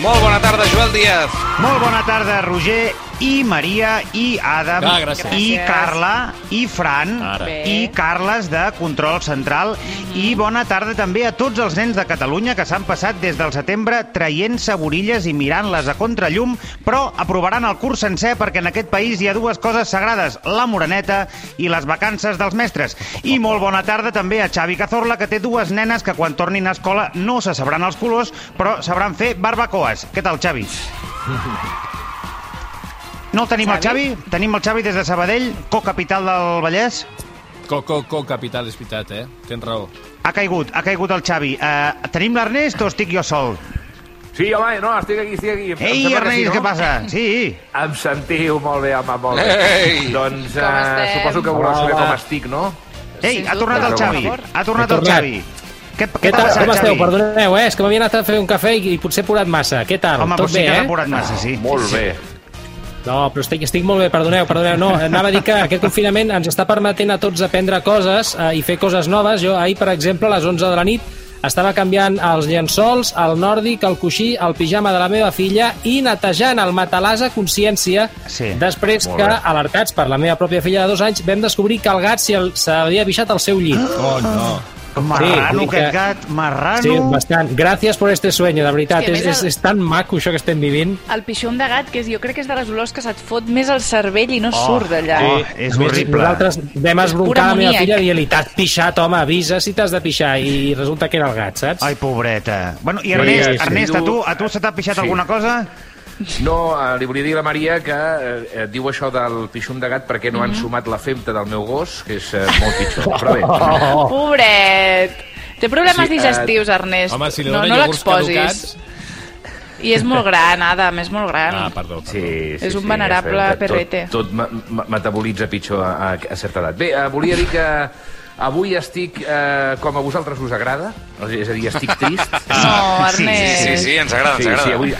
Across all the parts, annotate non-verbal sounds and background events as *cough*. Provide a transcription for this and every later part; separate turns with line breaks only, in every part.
Molt bona tarda, Joel Díaz.
Molt bona tarda, Roger i Maria i Adam
Ah, gràcies.
i
Gràcies.
Carla i Fran
Ara.
Bé. Mm-hmm.
i Carles de Control Central i bona tarda també a tots els nens de Catalunya que s'han passat des del setembre traient saborilles i mirant-les a contrallum però aprovaran el curs sencer perquè en aquest país hi ha dues coses sagrades la moreneta i les vacances dels mestres i molt bona tarda també a Xavi Cazorla que té dues nenes que quan tornin a escola no se sabran els colors però sabran fer barbacoes què tal Xavi? No el tenim
Xavi?
el Xavi, tenim el Xavi des de Sabadell, cocapital del Vallès.
Coco, co, capital, és veritat, eh? Tens raó.
Ha caigut, ha caigut el Xavi. Uh, tenim l'Ernest o estic jo sol?
Sí, home, no, estic aquí, estic aquí. Em
Ei,
sembla
Ernest,
que
què passa? Sí.
Em sentiu molt bé, home, molt bé.
Ei!
Doncs
Com
eh,
estem?
suposo que voleu saber
Hola.
com estic, no?
Ei,
Sens
ha tornat
dubte.
el Xavi.
Per favor.
Ha tornat
He
el
tornat.
Xavi. Què,
Què
què t'ha
tal?
passat,
Com esteu?
Xavi?
Perdoneu, eh? És que m'havia anat a fer un cafè i, i potser he porat massa. Què tal?
Home,
Tot
però sí
bé,
que
eh?
l'ha porat massa, sí.
Molt bé.
No, però estic, estic molt bé, perdoneu, perdoneu. No, eh, anava a dir que aquest confinament ens està permetent a tots aprendre coses eh, i fer coses noves. Jo ahir, per exemple, a les 11 de la nit, estava canviant els llençols, el nòrdic, el coixí, el pijama de la meva filla i netejant el matalàs a consciència
Sí.
després que, alertats per la meva pròpia filla de dos anys, vam descobrir que el gat s'hi el- s'havia bixat al seu
Ah!
llit.
Oh, no.
Marrano,
vull dir
aquest
que-
gat,
Sí,
marrano.
bastant. Gràcies per este sueño, de veritat.
Hòstia,
és,
més
és,
el-
és tan maco això que estem vivint.
El pixum de gat, que és, jo crec que és de les olors que se't fot més al cervell i no oh, surt d'allà.
Oh, és horrible.
Eh, Nosaltres vam esbroncar la meva
amoníac.
filla i dient-li t'has pixat, home, avisa si t'has de pixar. I resulta que era el gat, saps?
Ai, pobreta. Bueno, i Ernest,
sí, sí.
Ernest, a tu, a tu se t'ha pixat
Sí.
alguna cosa?
No, eh, li volia dir a la Maria que eh, eh, diu això del pixum de gat perquè no han
Mhm.
sumat la femta del meu gos, que és eh, molt pitjor. Però bé,
*laughs* Oh. Pobret! Té problemes
Sí, eh,
digestius, Ernest.
Home, si li
no,
donen
no
iogurts
l'exposis.
caducats...
I és molt gran, Adam, és molt gran.
Ah, perdó, perdó.
Sí, sí,
És un
sí,
venerable
ja sabem que
perrete.
Tot, tot ma- ma- metabolitza pitjor a, a certa edat. Bé, eh, volia dir que avui estic eh, com a vosaltres us agrada, és a dir, estic trist.
No,
Sí,
Sí, sí,
Ernest.
sí, sí, ens agrada,
Sí,
ens agrada.
sí, avui...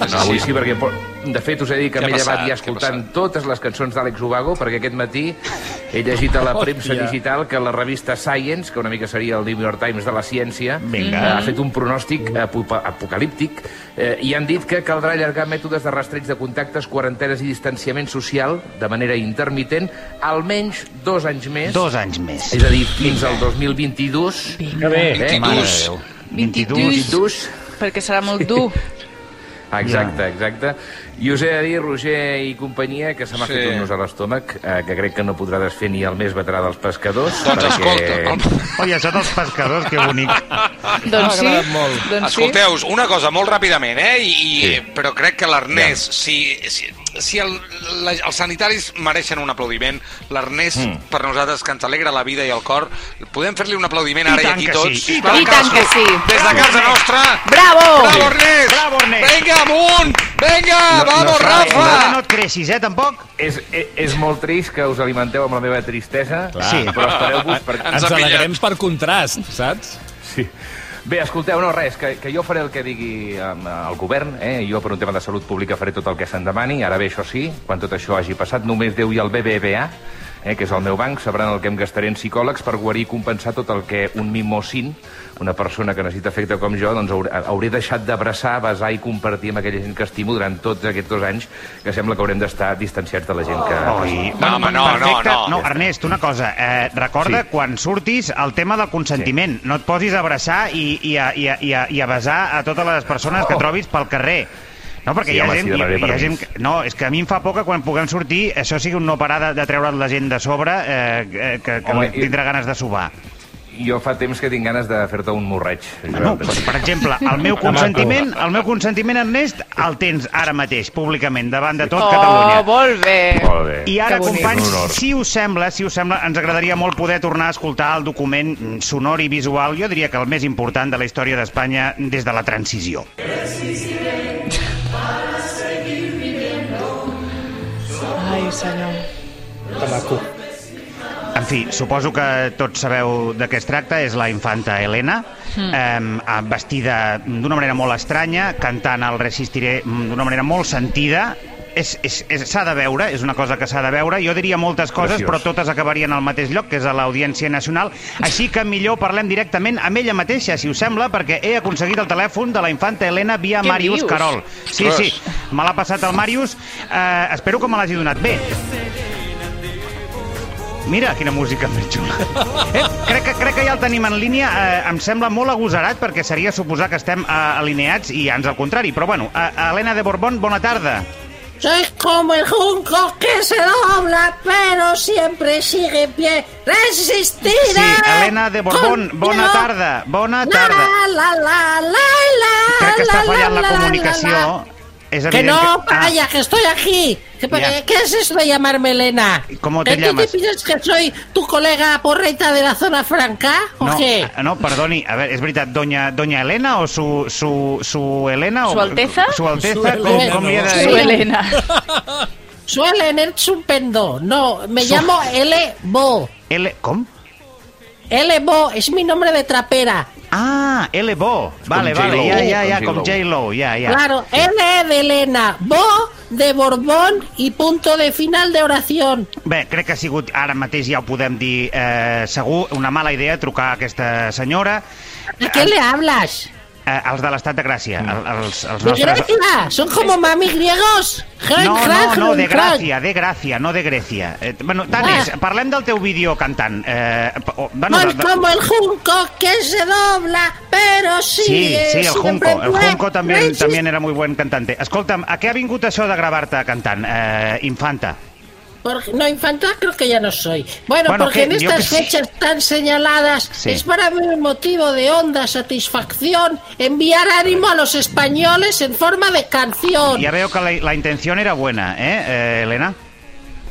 No, avui
sí.
sí, perquè po- de fet us he dit que
Què ha
m'he llevat
passat?
ja
Què ha
escoltant
passat?
totes les cançons d'Àlex Ubago, perquè aquest matí he llegit a la premsa
Hòstia.
digital que la revista Science, que una mica seria el New York Times de la ciència,
Vinga.
ha fet un pronòstic apopa- apocalíptic eh, i han dit que caldrà allargar mètodes de rastreig de contactes, quarantenes i distanciament social de manera intermitent almenys dos anys més.
Dos anys més.
És a dir, fins al 2022.
Que bé.
Eh, mare de Déu.
22,
22.
perquè serà molt dur.
Exacte, exacte. I us he de dir, Roger i companyia, que se m'ha
Sí.
sí. fet un nus a l'estómac, eh, que crec que no podrà desfer ni el més veterà dels pescadors.
Doncs escolta, el-
Oi, això dels pescadors, que bonic.
doncs sí,
agradat molt.
doncs sí.
Escolteu-us, una cosa, molt ràpidament, eh? I, i, Però crec que l'Ernest, si, si, si el, la, els sanitaris mereixen un aplaudiment, l'Ernest, per nosaltres, que ens alegra la vida i el cor, podem fer-li un aplaudiment
I
ara i
tant
aquí
que
tots?
sí, i
Sisplau,
tant. I tant que
cadascú.
sí.
Des de casa nostra...
Bravo!
Bravo, Ernest!
Bravo, Ernest!
Vinga, amunt! Vinga,
No- no
vamos,
s'ha-
Rafa!
No, no et creixis, eh, tampoc?
És, és, és molt trist que us alimenteu amb la meva tristesa,
Sí.
però espereu-vos... Per...
Ens
Ens,
ha
alegrem per contrast, saps?
Sí. Bé, escolteu, no, res, que, que jo faré el que digui um, el govern, eh? jo per un tema de salut pública faré tot el que se'n demani, ara bé, això sí, quan tot això hagi passat, només Déu i el BBVA, eh, que és el meu banc, sabran el que em gastaré en psicòlegs per guarir i compensar tot el que un mimocin, una persona que necessita afecte com jo, doncs hauré, hauré deixat d'abraçar, besar i compartir amb aquella gent que estimo durant tots aquests dos anys, que sembla que haurem d'estar distanciats de la gent que...
Oi.
No, home, no,
perfecte.
no, no.
No, Ernest, una cosa. Eh, recorda,
Sí.
quan surtis, el tema del consentiment. No et posis a abraçar i, i, a, i, a, i, a, i a besar a totes les persones que trobis pel carrer. No, perquè
Sí,
hi ha
home,
gent...
sí,
hi,
demanaré
hi ha
permís.
gent que, no, és que a mi em fa por que quan puguem sortir això sigui un no parar de, de treure't la gent de sobre eh, eh, que, que
Home,
home, tindrà ganes de sobar.
Jo fa temps que tinc ganes de fer-te un morreig.
No, doncs, per exemple, el meu consentiment, el meu consentiment, Ernest, el tens ara mateix, públicament, davant de tot Catalunya.
Oh, molt bé.
Molt bé.
I ara,
Que bonic.
companys,
Un honor.
si us sembla, si us sembla, ens agradaria molt poder tornar a escoltar el document mm, sonor i visual, jo diria que el més important de la història d'Espanya des de la transició.
Ai, senyor.
En fi, suposo que tots sabeu de què es tracta, és la infanta Helena,
Hmm.
mm. eh, vestida d'una manera molt estranya, cantant el Resistiré mm, d'una manera molt sentida, és- és- és- s'ha de veure, és una cosa que s'ha de veure. Jo diria moltes coses,
Preciós.
però totes acabarien al mateix lloc, que és a l'Audiència Nacional. Així que millor parlem directament amb ella mateixa, si us sembla, perquè he aconseguit el telèfon de la infanta Helena via
Què
Màrius
dius?
Carol. Sí, sí, me l'ha passat el Màrius. Eh, espero que me l'hagi donat bé. Mira, quina música més
*laughs*
xula. Eh, crec, que, crec que ja el tenim en línia. Eh, em sembla molt agosarat perquè seria suposar que estem eh, alineats i ans al contrari. Però bueno, eh, Helena de Borbón, bona tarda.
Soy como el junco que se dobla, pero siempre sigue en pie. ¡Resistiré!
Sí, Helena de Borbón, bona
Contigo.
tarda, bona
La,
tarda.
La, la, la, la,
Crec que està
la,
fallant la
la, la,
comunicació.
la.
És
Que
evident
no,
que... Ah.
vaya, que estoy aquí. ¿Qué, pa-
Ya.
qué es eso de llamarme Elena?
¿Cómo te
¿Que ¿Tú te
llamas?
piensas que soy tu colega porreta de la zona franca? ¿O
No,
qué?
eh, no, perdoni, a veure, és veritat, doña, doña Helena o su, su, su Helena? o-
Su Alteza?
Su Alteza,
Su
com,
Helena,
com li he de
no.
Su
dir?
Helena.
Suelen ser chupendo. No, me
Su-
llamo L. Bo.
L... Com?
L. Bo es mi nombre de trapera.
Ah, L. Bo. Vale,
com
vale,
J-Lo,
ja, ja, ja,
com
com J-Lo, ja, ja.
Claro, L de Elena, Bo de Borbón y punto de final de oración.
Bé, crec que ha sigut, ara mateix ja ho podem dir eh, segur, una mala idea trucar a aquesta senyora.
¿A
Ah.
qué le hablas?
Eh, els de l'Estat de Gràcia, el- els, els
De
nostres...
Grecia, son como mami griegos.
No, no, no, de
gracia.
Gràcia, de Gràcia, no de Grècia. Eh, bueno, Tanis,
Ah.
parlem del teu vídeo cantant. Eh, o, bueno,
No
de,
es
de,
como el junco que se dobla, pero sí. eh,
sí, sí, el Junco. El Junco també,
también.
també era molt bon cantante. Escolta'm, a què ha vingut això de gravar-te cantant, eh, Infanta?
Porque- no, infanta creo que ya no soy. Bueno,
Bueno,
porque en
que- yo
estas
que sí.
fechas tan señaladas
Sí.
es para mí un motivo de honda satisfacción enviar ánimo a los españoles en forma de canción.
Ja veu que la, la intenció era buena, eh, eh Elena?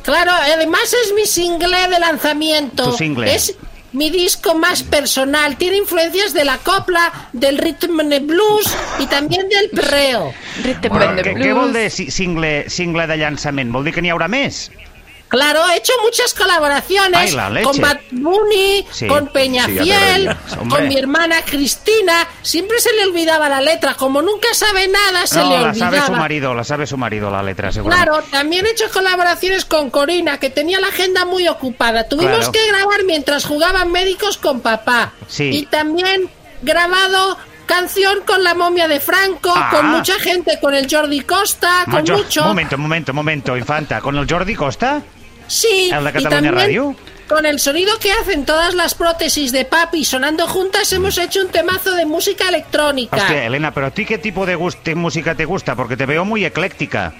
Claro, además es mi single de lanzamiento.
Tu single.
Es mi disco más personal. Tiene influencias de la copla, del rhythm and blues y también del perreo.
Rhythm
Bueno,
and the
Què,
Blues.
què vol dir si- single, single de llançament? Vol dir que n'hi haurà més?
Claro, he hecho muchas
Ay,
colaboraciones
la leche.
con Bad Bunny,
Sí.
con Peñafiel,
Sí,
ya te
con
Hombre.
mi hermana Cristina. Siempre se le olvidaba la letra. Como nunca sabe nada, se le
no, la
olvidaba.
sabe su marido, la sabe su marido, la letra, segurament.
Claro, también he hecho colaboraciones con Corina, que tenía la agenda muy ocupada.
Claro.
Tuvimos que grabar mientras jugaban médicos con papá.
Sí.
Y también grabado canción con la momia de Franco,
Ah.
con mucha gente, con el Jordi Costa, con
Macho,
mucho.
Momento, momento, momento, Infanta. ¿Con el Jordi Costa?
Sí,
¿El de
y
Cataluña
también
Radio?
Con el sonido que hacen todas las prótesis de papi sonando juntas, hemos hecho un temazo de música electrónica.
Mm. Hostia, Elena, pero ¿a ti qué tipo de gust- de música te gusta? Porque te veo muy ecléctica.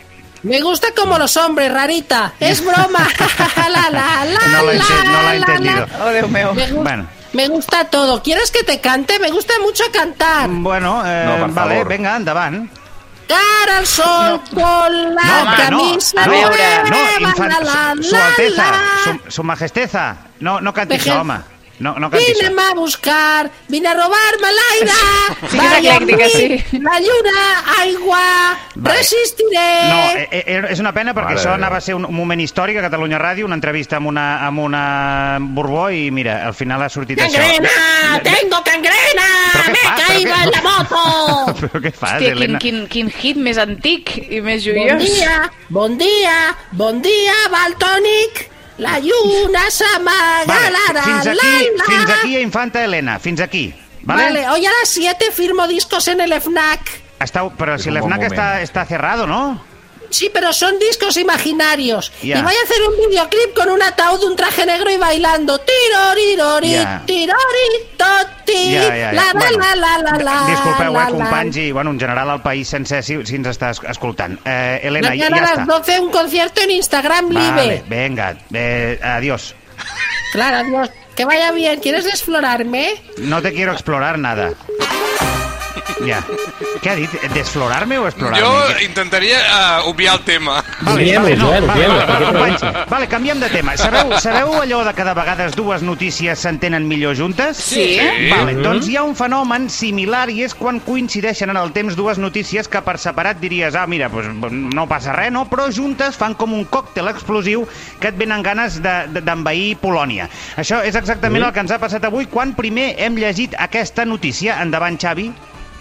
Me gusta
Mm.
como los hombres, rarita.
*laughs*
Es broma. *laughs* La, la, la,
No la he
la,
ente- no la he
la,
entendido.
Oh, Déu meu.
Me, gu-
Bueno.
me gusta todo. ¿Quieres que te cante? Me gusta mucho cantar.
Bueno, eh,
No, per
vale,
favor.
venga, anda, van.
Cara al sol con la
hombre,
Ah, camisa
no,
nueva.
no, infan-
la, la,
su, su
la,
Alteza,
la.
su, su Majesteza. No, no cantis,
Veje-
home. No, no cantis.
Vine a buscar, vine a robarme
*laughs*
el aire.
Sí que és
Vaya
eclèctica,
a mi,
sí.
La lluna, aigua,
Vale.
resistiré.
No, eh, eh, és una pena perquè
Mare
això
de
anava a ser un, un moment històric a Catalunya Ràdio, una entrevista amb una, amb una Borbó i mira, al final ha sortit
¡Cangrena! ¡Tengo cangrena!
Però què
¡Me
fa? Però
caigo
què-
en la
*laughs*
moto!
això. Però què fas,
Hòstia, quin,
Helena?
quin, quin hit més antic i més
Bon
joiós.
dia, bon dia, bon dia, Baltònic. La lluna s'amaga,
Vale,
la, la,
fins aquí,
la, la.
fins aquí a Infanta Helena, fins aquí. Vale?
Vale, hoy a las 7 firmo discos en el FNAC.
Està, però
És
si
un bon
l'FNAC
moment.
està, està cerrado, ¿no?
Sí, pero son discos imaginarios.
Ya.
Y voy a hacer un videoclip con un ataúd, un traje negro y bailando. Tirorirori,
Ya.
tirori, toti, la, la, la, la, la, la,
Disculpeu,
la,
eh,
la.
companys, i bueno, en general el país sencer si, si ens està es- escoltant. Eh, Helena, ja,
Mañana
ja
a
està.
las 12 un concierto en Instagram
Vale,
Live.
venga, eh, adiós.
Claro, adiós. Que vaya bien. ¿Quieres desflorarme?
No te quiero explorar nada. Ja. Què ha dit? Desflorar-me o explorar-me?
Jo
Què-
intentaria eh, obviar el tema.
Obviem-ho, Joel, obviem-ho, perquè
companys, vale, canviem de tema. Sabeu, sabeu allò de que de vegades dues notícies s'entenen millor juntes?
Sí. eh? Sí. Mm-hmm.
Vale, doncs hi ha un fenomen similar i és quan coincideixen en el temps dues notícies que per separat diries, ah, mira, doncs, no passa res, no? Però juntes fan com un còctel explosiu que et venen ganes de- de- d'envair de, Polònia.
Mm-hmm.
Això és exactament el que ens ha passat avui quan primer hem llegit aquesta notícia. Endavant, Xavi.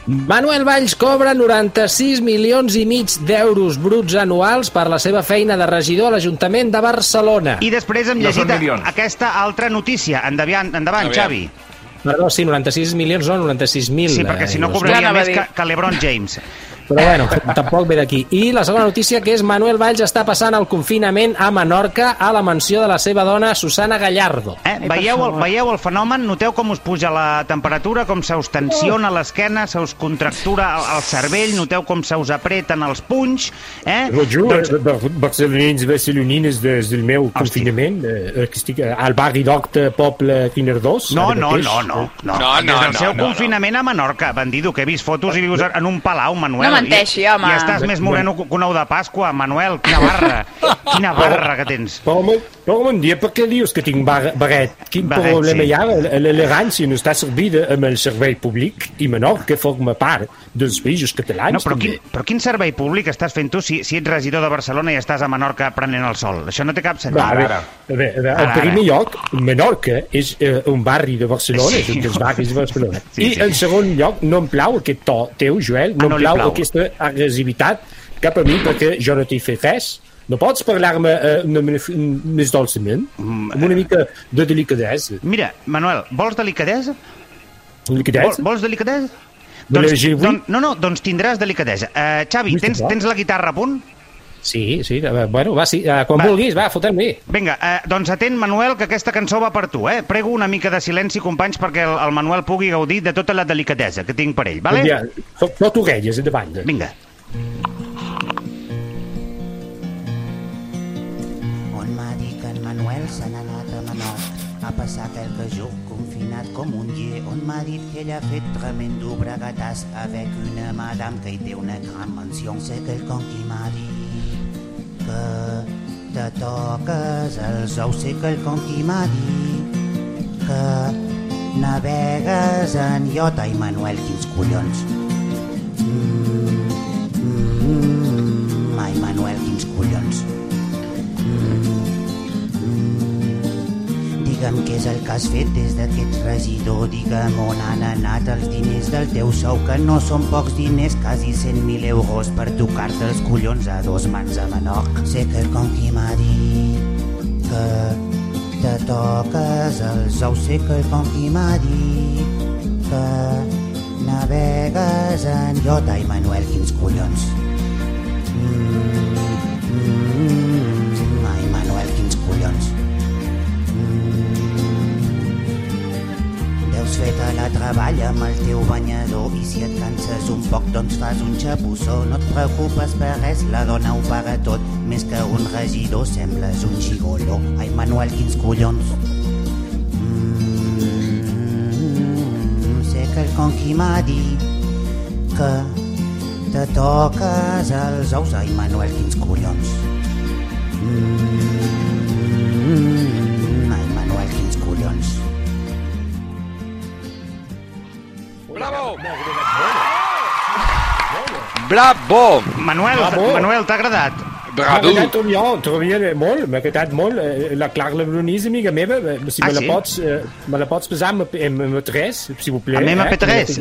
Manuel Valls cobra 96 milions i mig d'euros bruts anuals per la seva feina de regidor a l'Ajuntament de Barcelona.
I després hem
No són
llegit
milions.
aquesta altra notícia. Endavant, endavant
Aviam.
Xavi.
Perdó, sí, 96 milions, no, eh, 96.000.
Sí, perquè si no
euros.
cobraria
Ja anava
més
a dir.
que, que l'Ebron James.
Però bueno, tampoc ve d'aquí. I la segona notícia, que és Manuel Valls està passant el confinament a Menorca a la mansió de la seva dona, Susana Gallardo.
Eh?
per
Veieu, el,
favor.
veieu el fenomen? Noteu com us puja la temperatura, com se us tensiona l'esquena, se us contractura el, el cervell, noteu com se us apreten els punys, eh?
Roger, doncs... barcelonins, barcelonines des del meu Hòstia. confinament, eh, que estic al barri d'Horta, poble Quinerdós.
No,
Eh, ara
no,
mateix.
no, no,
No,
no.
no,
Des del
no,
seu
no,
confinament a Menorca, bandido, que he vist fotos i vius en un palau, Manuel.
No menteixi,
I-
home.
I estàs més moreno que un ou de Pasqua, Manuel. Quina barra, quina barra que tens.
Però, me- però bon dia, per què dius que tinc bar barret? Quin
Barret,
barret, problema
sí.
sí. hi ha? L'elegància no està servida amb el servei públic i Menorca forma part dels països catalans.
No, però quin,
també.
però quin servei públic estàs fent tu si, si ets regidor de Barcelona i estàs a Menorca prenent el sol? Això no té cap sentit.
Va, a veure,
Ara.
a veure, a veure,
Ara,
en
ara.
primer lloc, Menorca és eh, un barri de Barcelona, sí.
Sí.
és un dels barris de Barcelona.
Sí,
Sí, I
sí.
en segon lloc, no em plau aquest to teu, Joel,
Ah,
no,
no
em
li
plau,
plau.
aquesta agressivitat cap a mi perquè jo no t'he fet res. No pots parlar-me eh, una mica més dolçament,
Mm,
amb
eh.
una mica de delicadesa.
Mira, Manuel, vols delicadesa? Vol,
Delicadesa?
vols delicadesa?
Voleu llegir avui?
no, no, doncs tindràs delicadesa. Uh, Xavi,
Vull
tens,
tocar?
tens la guitarra a punt?
Sí, sí, a veure,
Bueno, va, sí, eh, quan
Va.
va. vulguis, va, fotem-hi.
Vinga, eh, doncs atén, Manuel, que aquesta cançó va per tu, eh? Prego una mica de silenci, companys, perquè el, el Manuel pugui gaudir de tota la delicadesa que tinc per ell, vale?
ja, fot- fot orelles endavant.
Vinga.
on m'ha dit que en Manuel se n'ha anat a Menorca a passar quelques jours confinat com un llet, on m'ha dit que ell ha fet tremendo bregatàs avec una madame que hi té una gran mansió. Sé quelcom qui m'ha dit que te toques els ous, sé quelcom qui m'ha dit que navegues en iota i Manuel, quins collons. Mm, mm, ai, Manuel, quins collons. Digue'm què és el que has fet des de que ets regidor, digue'm on han anat els diners del teu sou, que no són pocs diners, quasi 100.000 euros per tocar-te els collons a dos mans a Manoc. Sé que el conqui m'ha dit que te toques els ous, sé que el conqui m'ha dit que navegues en iota i Manuel, quins collons. Mm, mm, ai, Manuel, quins collons. Deus fer la treballa amb el teu banyador i si et canses un poc doncs fas un xapussó. No et preocupes per res, la dona ho paga tot. Més que un regidor sembles un xigoló. Ai, Manuel, quins collons! Mm, sé que el conqui m'ha dit que te toques els ous. Ai, Manuel, quins collons! Mm, ai, Manuel, quins collons!
Bravo! Bravo!
Manuel,
Bravo.
Manuel, t'ha agradat?
M'ha
Bravo!
agradat un lloc, t'havia molt, m'ha agradat molt. eh, La Clara Lebrunís, amiga meva, eh, si
Ah,
me la
sí?
pots, eh, me la pots pesar amb amb MP3, si vous plaît. eh?
Amb MP3?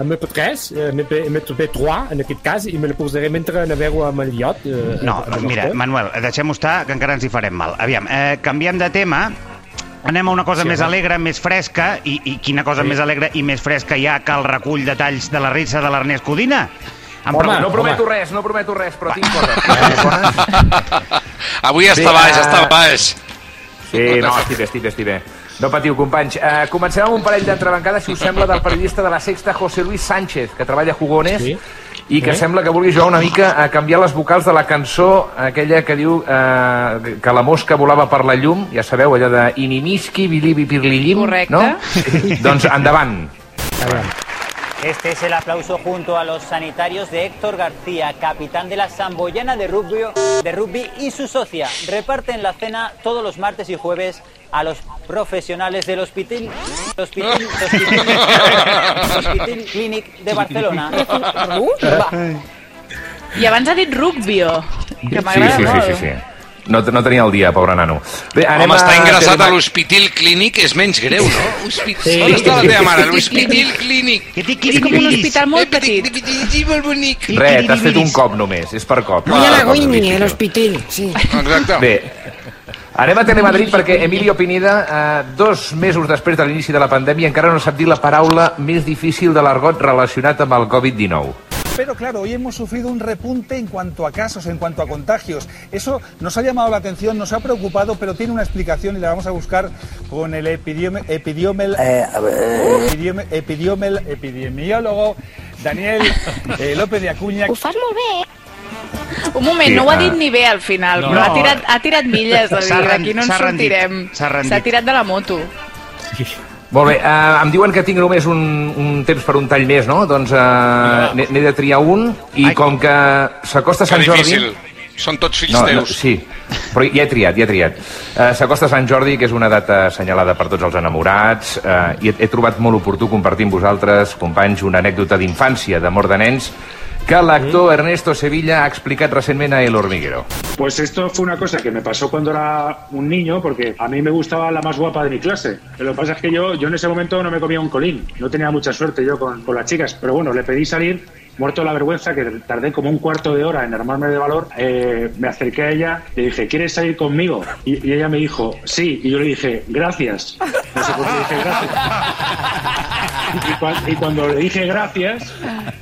Amb MP3, eh, amb MP- amb MP3, en aquest cas, i me la posaré mentre navego amb el iot. eh, a-
No,
a
mira,
Menorca.
Manuel, deixem-ho estar, que encara ens hi farem mal. Aviam, eh, canviem de tema. Anem a una cosa sí, més alegre, més fresca, i, i quina cosa sí. més alegre i més fresca hi ha que el recull de talls de la risa de l'Ernest Codina? Em
Home,
pregunto-
No
Home.
prometo res, no prometo res, però tinc coses.
Avui està
Vinga.
baix, està baix.
*laughs* Sí, no, estic bé, estic bé, estic bé. No patiu, companys. Uh, comencem amb un parell d'entrebancades, si us sembla, del periodista de la Sexta, José Luis Sánchez, que treballa a Jugones, sí.
Sí.
i que
Sí.
sembla que vulgui jugar una mica a canviar les vocals de la cançó, aquella que diu uh, que la mosca volava per la llum, ja sabeu, allò de inimiski, bilibi, pirlilim,
Correcte.
no? Sí. doncs endavant.
A veure.
Este es el aplauso junto a los sanitarios de Héctor García, capitán de la Samboyana de rugby, de rugby y su socia. Reparten la cena todos los martes y jueves a los profesionales del Hospital, hospital, hospital, Hospital Clinic de Barcelona. Va.
I abans ha dit rugbio, que m'agrada
sí, sí,
molt.
sí, sí, sí. No, no tenia el dia, pobre nano. Bé,
Anem Home, està
a
ingressat a
Telemark-
l'Hospital Clínic, és menys greu, no? Hospital...
Sí.
On està la teva mare? L'Hospital Clínic.
Que
És com un hospital molt petit.
molt bonic.
Re, t'has fet un cop només, és per cop.
Voy Ah, doncs
Per
a eh, la
cop de
Winnie,
víctima.
el hospital, sí.
Exacte.
Bé, anem a Telemadrid perquè Emilio Pineda, eh, dos mesos després de l'inici de la pandèmia, encara no sap dir la paraula més difícil de l'argot relacionat amb el Covid-19.
Pero claro, hoy hemos sufrido un repunte en cuanto a casos, en cuanto a contagios. Eso nos ha llamado la atención, nos ha preocupado, pero tiene una explicación y la vamos a buscar con el epidiome- epidiomel- epidiome- epidiomel- epidemiólogo Daniel eh, López de Acuña.
Un moment,
Sí,
no ho ha
ah.
dit ni bé al final,
No.
però ha
No.
tirat, ha tirat milles, de
S'ha
dir,
rendit,
aquí no ens
s'ha rendit,
sortirem.
s'ha rendit.
S'ha tirat de la moto.
Molt bé, eh, em diuen que tinc només un, un temps per un tall més, no? Doncs eh, n'he n'he de triar un i com que s'acosta
Que
Sant Jordi...
difícil. Són tots fills
No, no,
teus.
sí, però ja he triat, ja he triat. Eh, S'acosta Sant Jordi, que és una data assenyalada per tots els enamorats, eh, i he, he trobat molt oportú compartir amb vosaltres, companys, una anècdota d'infància, d'amor de nens, que l'actor Ernesto Sevilla ha explicat recentment a El Hormiguero.
Pues esto fue una cosa que me pasó cuando era un niño, porque a mí me gustaba la más guapa de mi clase. Lo que pasa es que yo, yo en ese momento no me comía un colín, no tenía mucha suerte yo con, con las chicas, pero bueno, le pedí salir. Muerto de la vergüenza, que tardé como un cuarto de hora en armarme de valor, eh, me acerqué a ella, le dije, ¿quieres salir conmigo? Y, y ella me dijo, sí, y yo le dije, gracias. No sé por qué dije gracias. Y, cua- y cuando le dije gracias,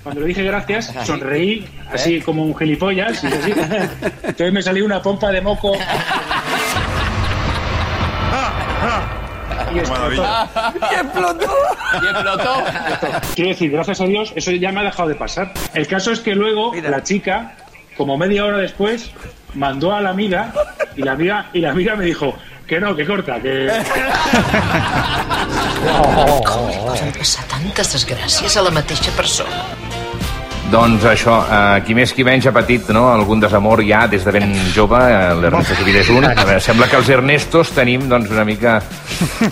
cuando le dije gracias, sonreí así como un gilipollas. Y así. Entonces me salió una pompa de moco. Y explotó.
Y explotó. Y explotó.
Quiero decir, gracias a Dios, eso ya me ha dejado de pasar. El caso es que luego la chica, como media hora después, mandó a la amiga y la amiga, y la amiga me dijo que no, que corta, que...
Poden passar tantes desgràcies a la mateixa persona.
Doncs això, eh, qui més qui menys ha patit no? algun desamor ja des de ben jove, eh, l'Ernesto Sevilla és un. A veure, sembla que els Ernestos tenim doncs, una mica...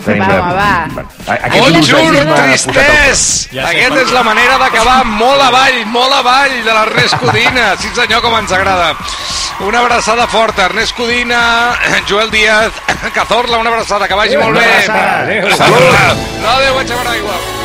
Tenim
Va, home, va.
A-
Bonjour,
eufemisme
tristès!
posat al-
Aquesta és la manera d'acabar molt avall, molt avall de l'Ernest Codina. Sí senyor, com ens agrada. Una abraçada forta, Ernest Codina, Joel Díaz, Cazorla, una abraçada, que vagi molt bé.
Salut!
Adéu, aixecarà igual.